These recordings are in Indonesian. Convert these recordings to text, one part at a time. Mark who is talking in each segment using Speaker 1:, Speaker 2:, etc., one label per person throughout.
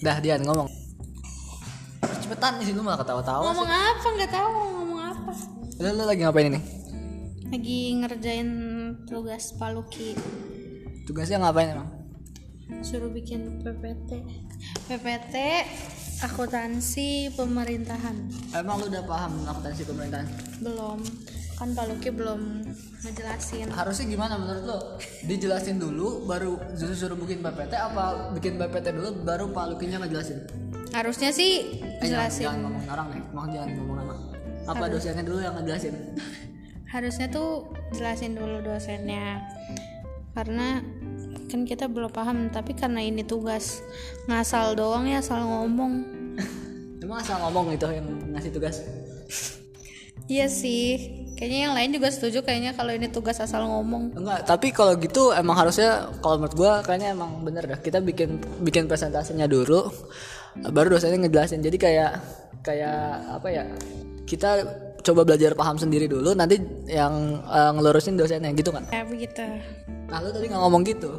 Speaker 1: Dah Dian ngomong. Cepetan sih lu malah ketawa-tawa.
Speaker 2: ngomong apa nggak tahu mau ngomong apa
Speaker 1: Lu, lu lagi ngapain ini?
Speaker 2: lagi ngerjain tugas paluki
Speaker 1: Tugasnya ngapain emang?
Speaker 2: suruh bikin PPT PPT akuntansi pemerintahan
Speaker 1: Emang lu udah paham akuntansi pemerintahan?
Speaker 2: belum kan paluki belum ngejelasin
Speaker 1: Harusnya gimana menurut lu? Dijelasin dulu baru suruh suruh bikin PPT apa bikin PPT dulu baru Pak Lukinya ngejelasin?
Speaker 2: harusnya sih
Speaker 1: Eh, jangan, jangan
Speaker 2: jelasin
Speaker 1: ngomong orang nih, emang jangan ngomong nama. Apa dosennya dulu yang ngejelasin?
Speaker 2: harusnya tuh jelasin dulu dosennya karena kan kita belum paham tapi karena ini tugas ngasal doang ya asal ngomong
Speaker 1: Emang asal ngomong itu yang ngasih tugas?
Speaker 2: iya sih kayaknya yang lain juga setuju kayaknya kalau ini tugas asal ngomong
Speaker 1: Enggak, tapi kalau gitu emang harusnya kalau menurut gua kayaknya emang bener dah. Kita bikin bikin presentasinya dulu baru dosennya ngejelasin. Jadi kayak kayak apa ya? Kita coba belajar paham sendiri dulu nanti yang eh, ngelurusin dosennya gitu kan.
Speaker 2: ya begitu
Speaker 1: Nah, lu tadi nggak ngomong gitu.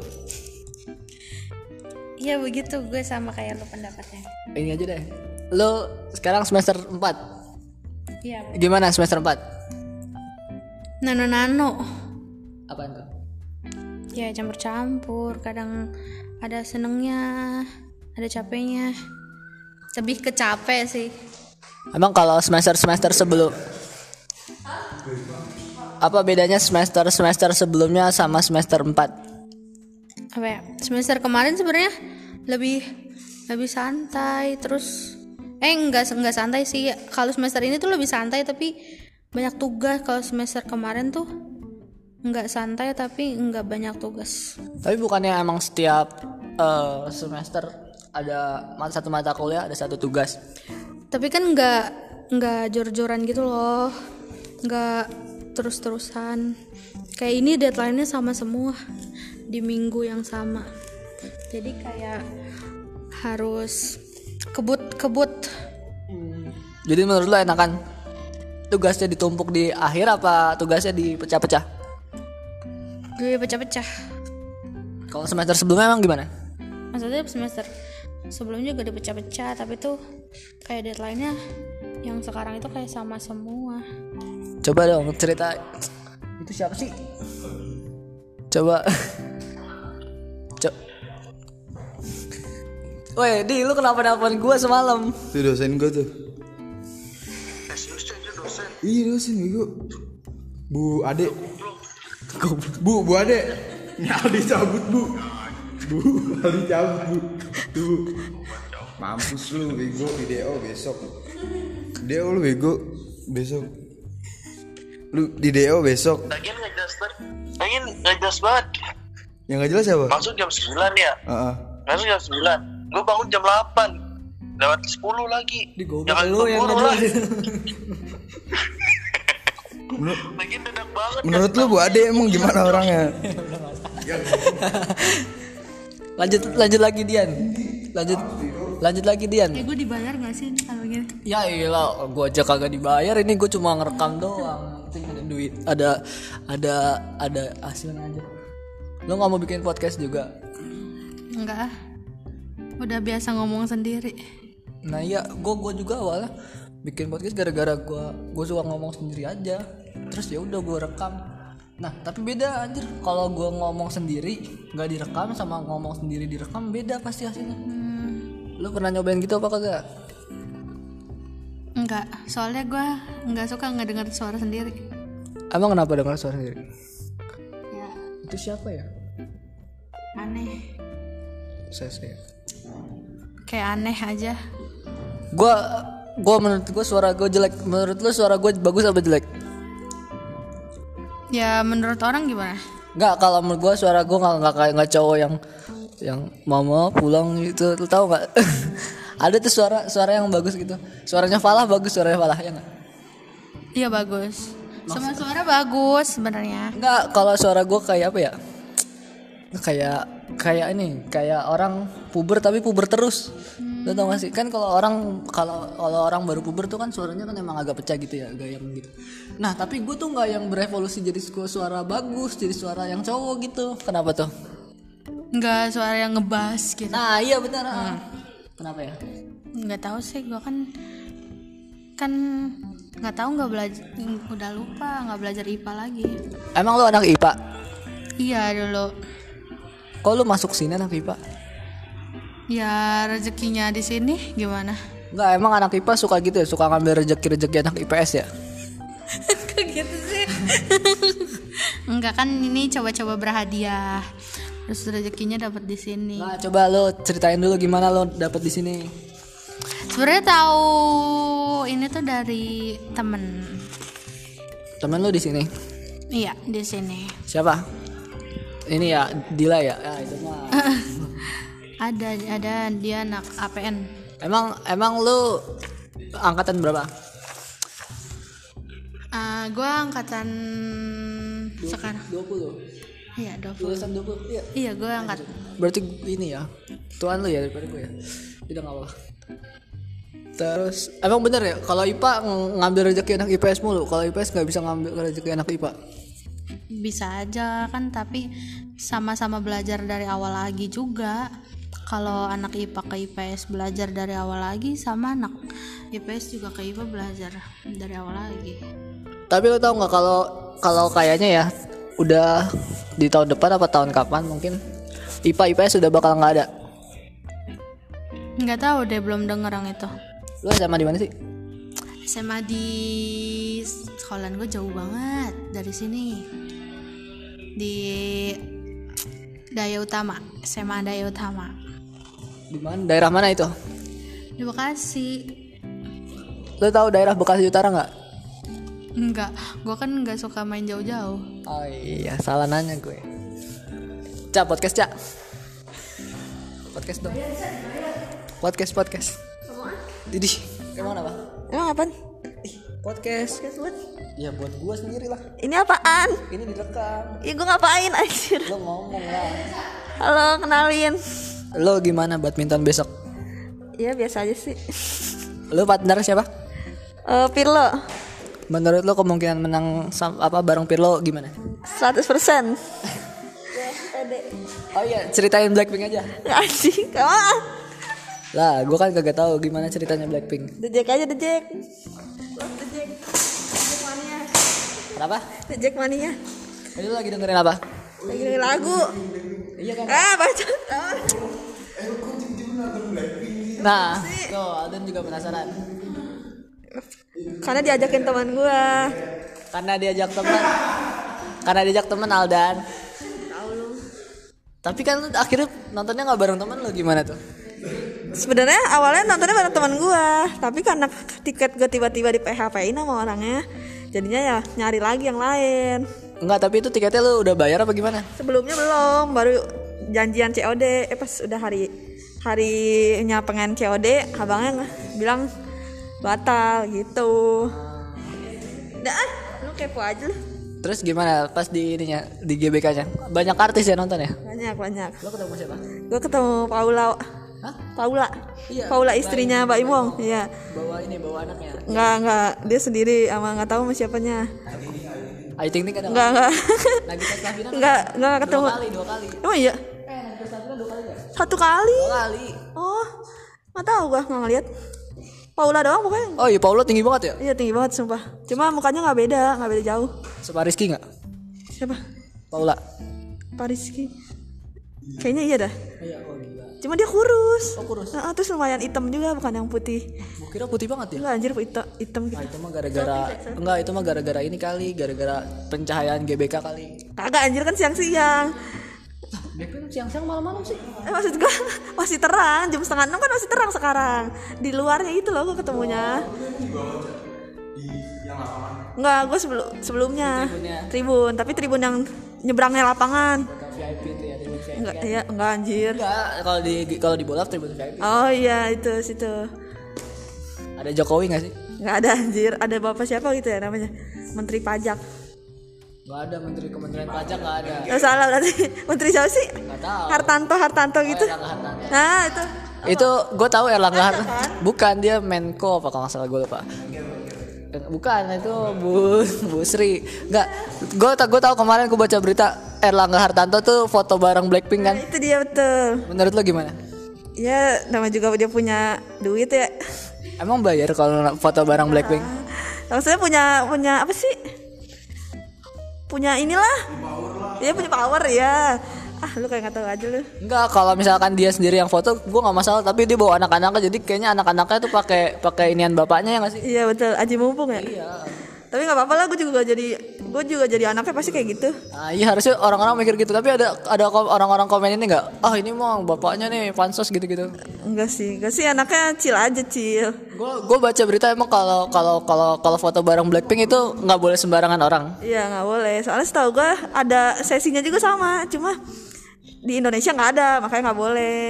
Speaker 2: iya begitu gue sama kayak lo pendapatnya
Speaker 1: Ini aja deh. Lu sekarang semester 4.
Speaker 2: iya
Speaker 1: Gimana semester 4?
Speaker 2: nano nano
Speaker 1: Apaan tuh?
Speaker 2: ya campur campur kadang ada senengnya ada capeknya lebih ke capek sih
Speaker 1: Emang kalau semester-semester sebelum apa bedanya semester-semester sebelumnya sama semester 4?
Speaker 2: apa ya semester kemarin sebenarnya lebih lebih santai terus eh enggak enggak santai sih kalau semester ini tuh lebih santai tapi banyak tugas kalau semester kemarin tuh enggak santai tapi enggak banyak tugas
Speaker 1: Tapi bukannya emang setiap eh, semester ada mat- satu mata kuliah ada satu tugas.
Speaker 2: tapi kan enggak enggak jor-joran gitu loh enggak terus-terusan kayak ini deadline-nya sama semua di minggu yang sama jadi kayak harus kebut-kebut
Speaker 1: Jadi menurut lo enakan tugasnya ditumpuk di akhir apa tugasnya dipecah-pecah?
Speaker 2: gue pecah-pecah
Speaker 1: Kalau semester sebelumnya emang gimana?
Speaker 2: maksudnya semester sebelumnya juga dipecah-pecah tapi tuh kayak deadline-nya yang sekarang itu kayak sama semua
Speaker 1: Coba dong cerita itu siapa sih? Coba. Coba. Woi, di lu kenapa nelpon gua semalam?
Speaker 3: Itu dosen gue tuh. Iya dosen gue. Bu Ade. Bu Bu Ade. Nyali cabut bu. Bu nyali cabut bu. Tuh bu. Mampus lu bego video besok. Video lu bego besok. Lu di DO besok.
Speaker 4: Lagian nggak jelas banget. Lagian nggak jelas banget.
Speaker 3: Yang gak jelas siapa? Ah,
Speaker 4: Masuk jam 9 ya.
Speaker 3: Heeh.
Speaker 4: Masuk jam 9. Gue bangun jam 8. Lewat 10 lagi.
Speaker 1: Di goblok
Speaker 4: Jangan
Speaker 1: lu yang
Speaker 4: keburu lah.
Speaker 1: ngejelasin.
Speaker 3: Menur-
Speaker 4: Lagian dedak banget.
Speaker 3: menurut lu Bu Ade emang gimana orangnya?
Speaker 1: lanjut lanjut lagi Dian. Lanjut lanjut lagi Dian.
Speaker 2: eh gue dibayar gak sih ini kalau gini
Speaker 1: Ya iyalah, gua aja kagak dibayar ini gua cuma ngerekam doang. Yang penting ada duit, ada ada ada hasilnya aja. Lu nggak mau bikin podcast juga?
Speaker 2: enggak ah. udah biasa ngomong sendiri
Speaker 1: Nah iya, gue gua juga awalnya bikin podcast gara-gara gue gue suka ngomong sendiri aja. Terus ya udah gue rekam. Nah tapi beda anjir kalau gue ngomong sendiri nggak direkam sama ngomong sendiri direkam beda pasti hasilnya.
Speaker 2: Hmm.
Speaker 1: Lu pernah nyobain gitu apa kagak?
Speaker 2: enggak soalnya gue enggak suka nggak dengar suara sendiri
Speaker 1: Emang kenapa dengar suara sendiri?
Speaker 2: ya
Speaker 1: Itu siapa ya?
Speaker 2: aneh
Speaker 1: Saya saya.
Speaker 2: kayak aneh aja
Speaker 1: Gue gue menurut gue suara gue jelek. Menurut lu suara gue bagus apa jelek?
Speaker 2: ya menurut orang gimana
Speaker 1: Nggak kalau menurut gue suara gue nggak nggak kayak nggak cowok yang yang mama pulang gitu lu tahu nggak ada tuh suara suara yang bagus gitu suaranya Falah bagus suaranya Falah ya nggak
Speaker 2: iya bagus semua suara bagus sebenarnya
Speaker 1: nggak kalau suara gue kayak apa ya kayak kayak ini kayak orang puber tapi puber terus lu tau gak sih kan kalau orang kalau kalau orang baru puber tuh kan suaranya kan emang agak pecah gitu ya gayang gitu nah tapi gue tuh nggak yang berevolusi jadi su- suara bagus jadi suara yang cowok gitu kenapa tuh
Speaker 2: enggak suara yang ngebas gitu
Speaker 1: Nah iya benar. ah. Kenapa ya?
Speaker 2: nggak tahu sih gua kan kan nggak tahu nggak belajar udah lupa nggak belajar IPA lagi
Speaker 1: Emang lu anak IPA?
Speaker 2: iya dulu
Speaker 1: Kok lu masuk sini anak IPA?
Speaker 2: ya rezekinya di sini gimana
Speaker 1: Enggak, emang anak IPA suka gitu ya, suka ngambil rejeki-rejeki anak IPS ya.
Speaker 2: Kok gitu sih? Enggak kan ini coba-coba berhadiah. Terus rezekinya dapat di sini.
Speaker 1: Nah, coba lu ceritain dulu gimana lu dapet di sini.
Speaker 2: Sebenarnya tahu ini tuh dari temen.
Speaker 1: Temen lu di sini.
Speaker 2: Iya, di sini.
Speaker 1: Siapa? Ini ya, Dila ya. Ya, itu mah.
Speaker 2: Ada ada dia anak APN.
Speaker 1: Emang emang lu angkatan berapa?
Speaker 2: Ah, gua angkatan sekarang.
Speaker 1: 20.
Speaker 2: Iya, 20.
Speaker 1: Lulusan 20. Iya.
Speaker 2: Iya, gua angkat.
Speaker 1: Berarti ini ya. Tuan lu ya daripada gue ya. Tidak enggak apa-apa. Terus emang bener ya kalau IPA ng- ngambil rezeki anak IPS mulu, kalau IPS nggak bisa ngambil rezeki anak IPA.
Speaker 2: Bisa aja kan, tapi sama-sama belajar dari awal lagi juga. Kalau anak IPA ke IPS belajar dari awal lagi, sama anak IPS juga ke IPA belajar dari awal lagi.
Speaker 1: Tapi lo tau nggak kalau kalau kayaknya ya udah di tahun depan apa tahun kapan mungkin IPA IPS sudah bakal nggak ada.
Speaker 2: Nggak tahu deh, belum denger yang itu.
Speaker 1: Lo sama di mana sih?
Speaker 2: SMA di sekolahan gue jauh banget dari sini. Di Daya Utama, SMA Daya Utama.
Speaker 1: Di mana? Daerah mana itu?
Speaker 2: Di Bekasi,
Speaker 1: Lo tahu daerah Bekasi Utara nggak?
Speaker 2: Enggak, gue kan nggak suka main jauh-jauh.
Speaker 1: Oh iya, salah nanya gue. Cak podcast cak. Podcast dong. Podcast podcast. Didi, emang apa?
Speaker 5: Emang apaan?
Speaker 1: Podcast. Ya buat gue sendiri lah.
Speaker 5: Ini apaan?
Speaker 1: Ini direkam.
Speaker 5: Ya gue ngapain anjir
Speaker 1: Lo ngomong lah.
Speaker 5: Halo kenalin
Speaker 1: Lo gimana badminton besok?
Speaker 5: Ya biasa aja sih
Speaker 1: Lo partner siapa?
Speaker 5: Eh Pirlo
Speaker 1: Menurut lo kemungkinan menang sam- apa bareng Pirlo gimana?
Speaker 5: 100%
Speaker 1: Oh iya, ceritain Blackpink aja.
Speaker 5: Anjing Apaan?
Speaker 1: Lah, gue kan kagak tahu gimana ceritanya Blackpink.
Speaker 5: The Jack aja The Jack
Speaker 1: Kenapa?
Speaker 5: The Jack mania
Speaker 1: Ini lo lagi dengerin apa?
Speaker 5: Lagi dengerin lagu
Speaker 1: Iya kan?
Speaker 5: Ah baca
Speaker 1: Nah, tuh Alden juga penasaran.
Speaker 5: Karena diajakin teman gue
Speaker 1: Karena diajak teman. Karena diajak teman Aldan. Tapi kan lu akhirnya nontonnya nggak bareng teman lo gimana tuh?
Speaker 5: Sebenarnya awalnya nontonnya bareng teman gue Tapi karena tiket gue tiba-tiba di PHP-in sama orangnya Jadinya ya nyari lagi yang lain
Speaker 1: Enggak, tapi itu tiketnya lu udah bayar apa gimana?
Speaker 5: sebelumnya belum baru janjian COD eh pas udah hari harinya pengen COD abangnya nge- bilang batal gitu udah ah, lu kepo aja lu
Speaker 1: Terus gimana pas di ininya di GBK-nya? Banyak artis ya nonton ya?
Speaker 5: banyak banyak
Speaker 1: Lo ketemu siapa?
Speaker 5: gue ketemu Paula
Speaker 1: Hah?
Speaker 5: Paula
Speaker 1: Iya,
Speaker 5: Paula istrinya Mbak Imong iya
Speaker 1: Bawa ini, bawa anaknya.
Speaker 5: nggak nggak dia sendiri ama nggak tahu sama siapanya
Speaker 1: Ayu Ting Ting kan ada nggak?
Speaker 5: nggak nggak
Speaker 1: Nagita Slavina kan
Speaker 5: nggak nggak ketemu
Speaker 1: dua kali, dua kali.
Speaker 5: emang iya
Speaker 1: Eh, Nagita Slavina dua kali ya?
Speaker 5: satu kali
Speaker 1: Dua kali.
Speaker 5: Oh, nggak tahu gua nggak ngeliat. Paula doang pokoknya.
Speaker 1: Oh iya, Paula tinggi banget ya?
Speaker 5: Iya tinggi banget sumpah. Cuma mukanya nggak beda, nggak beda jauh.
Speaker 1: Sama Rizky nggak?
Speaker 5: Siapa?
Speaker 1: Paula.
Speaker 5: Pariski. Kayaknya iya dah.
Speaker 1: Iya, oh gila.
Speaker 5: Cuma dia kurus.
Speaker 1: Oh, kurus.
Speaker 5: Nah, terus lumayan hitam juga, bukan yang putih.
Speaker 1: Gua kira putih banget ya?
Speaker 5: Enggak anjir hitam, hitam
Speaker 1: Nah,
Speaker 5: gitu.
Speaker 1: itu mah gara-gara enggak itu mah gara-gara ini kali, gara-gara pencahayaan GBK kali.
Speaker 5: Kagak anjir kan siang-siang.
Speaker 1: Dia kan siang-siang malam-malam sih.
Speaker 5: Eh, maksud gua masih terang, jam setengah enam kan masih terang sekarang. Di luarnya itu loh gua ketemunya. Enggak, gue sebelum sebelumnya tribun, tapi tribun yang nyebrangnya lapangan.
Speaker 1: VIP itu ya, tribun VIP.
Speaker 5: Enggak, iya, enggak anjir.
Speaker 1: Enggak, kalau di kalau di bola tribun VIP.
Speaker 5: Oh iya itu situ.
Speaker 1: Ada Jokowi enggak sih?
Speaker 5: Enggak ada anjir, ada bapak siapa gitu ya namanya? Menteri pajak.
Speaker 1: Enggak ada menteri Kementerian Pajak enggak ada.
Speaker 5: Oh, salah berarti. Menteri siapa sih?
Speaker 1: Enggak tahu.
Speaker 5: Hartanto, Hartanto gitu.
Speaker 1: Erlangga Hartanto. ya.
Speaker 5: Nah, itu.
Speaker 1: Itu gue tahu Erlangga Har-
Speaker 5: kan?
Speaker 1: Bukan dia Menko apa kalau nggak salah gue lupa. Bukan itu Bu Bu Sri. Enggak, gue tau gue tahu kemarin gue baca berita Erlangga Hartanto tuh foto bareng Blackpink kan.
Speaker 5: Itu dia betul.
Speaker 1: Menurut lo gimana?
Speaker 5: ya nama juga dia punya duit ya
Speaker 1: Emang bayar kalau na- foto barang Blackpink?
Speaker 5: maksudnya punya punya apa sih punya inilah Iya punya power ya ah lu kayak nggak tahu aja lu
Speaker 1: Enggak, kalau misalkan dia sendiri yang foto, gue nggak masalah. Tapi dia bawa anak-anaknya, jadi kayaknya anak-anaknya tuh pakai pakai inian bapaknya ya nggak sih?
Speaker 5: iya betul aji mumpung ya tapi nggak apa-apa lah gue juga jadi gue juga jadi anaknya pasti kayak gitu
Speaker 1: Nah, iya harusnya orang-orang mikir gitu. Tapi ada ada kom- orang-orang komen ini nggak? Ah ini mau bapaknya nih pansos gitu-gitu.
Speaker 5: enggak sih enggak sih anaknya cil aja cil
Speaker 1: Gue gue baca berita emang kalau kalau kalau kalau foto bareng Blackpink itu nggak boleh sembarangan orang.
Speaker 5: Iya nggak boleh. Soalnya setahu gue ada sesinya juga sama, cuma di Indonesia nggak ada, makanya nggak boleh.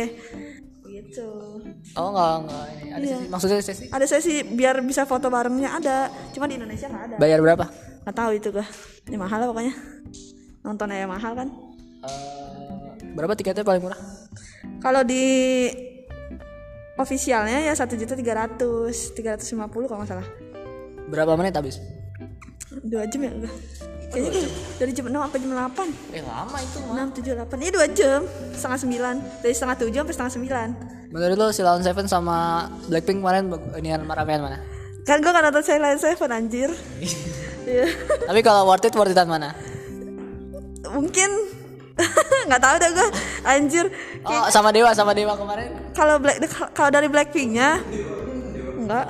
Speaker 5: Gitu.
Speaker 1: Oh nggak nggak. ini. Ada sesi, maksudnya sesi?
Speaker 5: Ada sesi biar bisa foto barengnya ada, cuma di Indonesia nggak ada.
Speaker 1: Bayar berapa?
Speaker 5: Nggak tahu itu gue. Ini mahal lah pokoknya. Nonton aja mahal kan.
Speaker 1: Eh, Berapa tiketnya paling murah?
Speaker 5: Kalau di ofisialnya ya satu juta tiga ratus, tiga ratus lima puluh kalau nggak salah.
Speaker 1: Berapa menit habis?
Speaker 5: Dua jam ya gue. Kayaknya dari- dari jam enam sampai jam delapan.
Speaker 1: Eh lama itu mah.
Speaker 5: Enam tujuh delapan. Ini dua jam, setengah sembilan. Dari setengah tujuh sampai setengah sembilan.
Speaker 1: Menurut lo si Lawn Seven sama Blackpink kemarin bag- inian ramean mana?
Speaker 5: kan gue gak nonton Silent Seven anjir Iya.
Speaker 1: Tapi kalau worth it worth itan mana?
Speaker 5: mungkin nggak tahu deh gue anjir
Speaker 1: Oh sama Dewa sama Dewa kemarin.
Speaker 5: kalau black kalau dari Blackpinknya enggak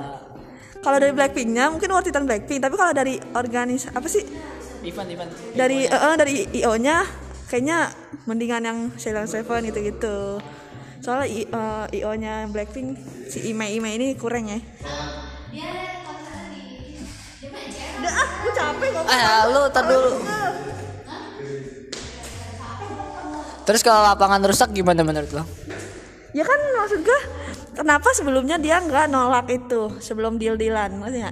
Speaker 5: kalau dari Blackpinknya mungkin worth itan Blackpink tapi kalau dari organis apa sih
Speaker 1: Ivan Ivan.
Speaker 5: dari eh, eh, dari IO nya kayaknya mendingan yang Silent Seven gitu gitu soalnya I- eh, IO nya Blackpink si Ime Ime ini kurang ya Udah ah, gue capek ngomong.
Speaker 1: Ah lo tar dulu. Terus kalau lapangan rusak gimana menurut lo?
Speaker 5: Ya kan maksud gue kenapa sebelumnya dia nggak nolak itu sebelum deal dealan maksudnya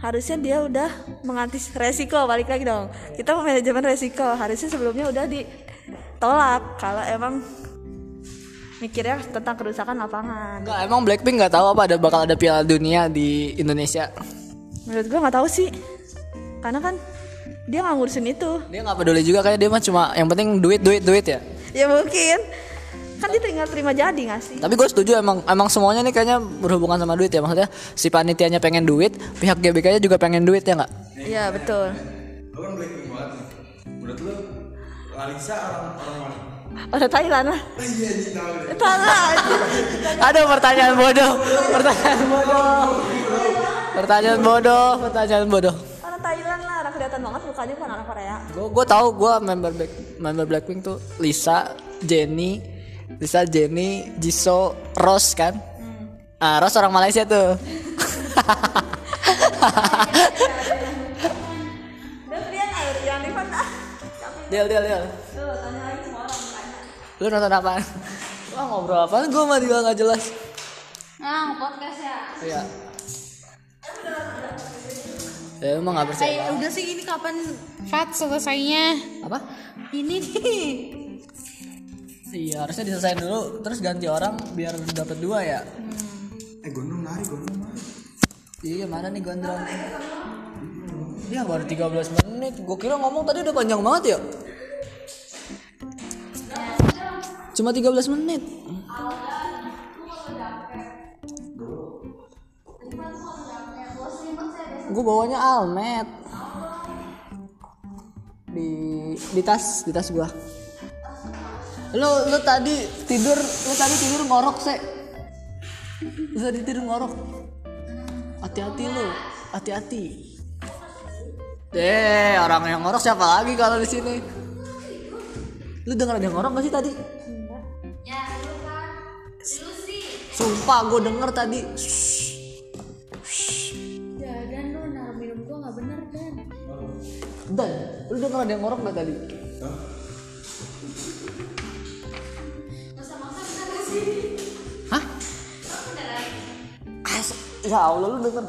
Speaker 5: harusnya dia udah mengantis resiko balik lagi dong kita manajemen resiko harusnya sebelumnya udah ditolak kalau emang mikirnya tentang kerusakan lapangan
Speaker 1: Enggak, emang Blackpink nggak tahu apa ada bakal ada Piala Dunia di Indonesia.
Speaker 5: menurut gue nggak tahu sih karena kan dia nggak ngurusin itu
Speaker 1: Dia nggak peduli juga kayak dia mah cuma yang penting duit duit duit ya.
Speaker 5: ya mungkin kan dia tinggal terima jadi nggak sih
Speaker 1: Tapi gue setuju emang emang semuanya nih kayaknya berhubungan sama duit ya maksudnya si panitianya pengen duit, pihak GBK-nya juga pengen duit ya nggak?
Speaker 5: Iya kan betul. Lo kan Blackpink banget. Menurut lo Larissa orang orang mana? Orang Thailand lah. Iya Thailand.
Speaker 1: Aduh pertanyaan bodoh, pertanyaan bodoh, pertanyaan bodoh, pertanyaan bodoh.
Speaker 5: Orang Thailand lah. Orang kelihatan banget mukanya bukan orang Korea.
Speaker 1: Gue gue tahu gue member Black member Blackpink tuh Lisa, Jennie, Lisa, Jennie, Jisoo, Rose kan?
Speaker 5: Hmm.
Speaker 1: Ah Rose orang Malaysia tuh.
Speaker 5: Dan dia kayak yang di mana? Tapi
Speaker 1: Deal deal deal.
Speaker 5: tuh tanya lagi semua orang tanya.
Speaker 1: Lu nonton apaan? Wah ngobrol apaan? Gue mah juga nggak jelas.
Speaker 2: Ah, podcast ya.
Speaker 1: Iya. Ya emang nggak percaya.
Speaker 2: Eh, udah sih ini kapan Fat selesainya?
Speaker 1: Apa?
Speaker 2: Ini nih.
Speaker 1: Iya harusnya diselesain dulu, terus ganti orang biar dapat dua ya.
Speaker 3: Eh gondrong lari, gondrong lari.
Speaker 1: Iya mana nih gondrong? Ya baru 13 menit. Gue kira ngomong tadi udah panjang banget ya. Cuma 13 menit. Gue bawanya almet di di tas di tas gua. Lu lu tadi tidur lu tadi tidur ngorok se. Lu tadi tidur ngorok. Hati-hati lo, hati-hati. Eh, orang yang ngorok siapa lagi kalau di sini? Lu denger ada yang ngorok gak sih tadi? Sumpah gue denger tadi.
Speaker 2: Ya, dan lu naruh minum gua nggak bener kan?
Speaker 1: Dan, lu denger ada yang ngorok gak tadi? Hah? As ya Allah lu denger.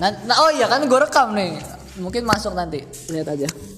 Speaker 1: nah, Nan- Nah, oh iya kan gue rekam nih. Mungkin masuk nanti. Lihat aja.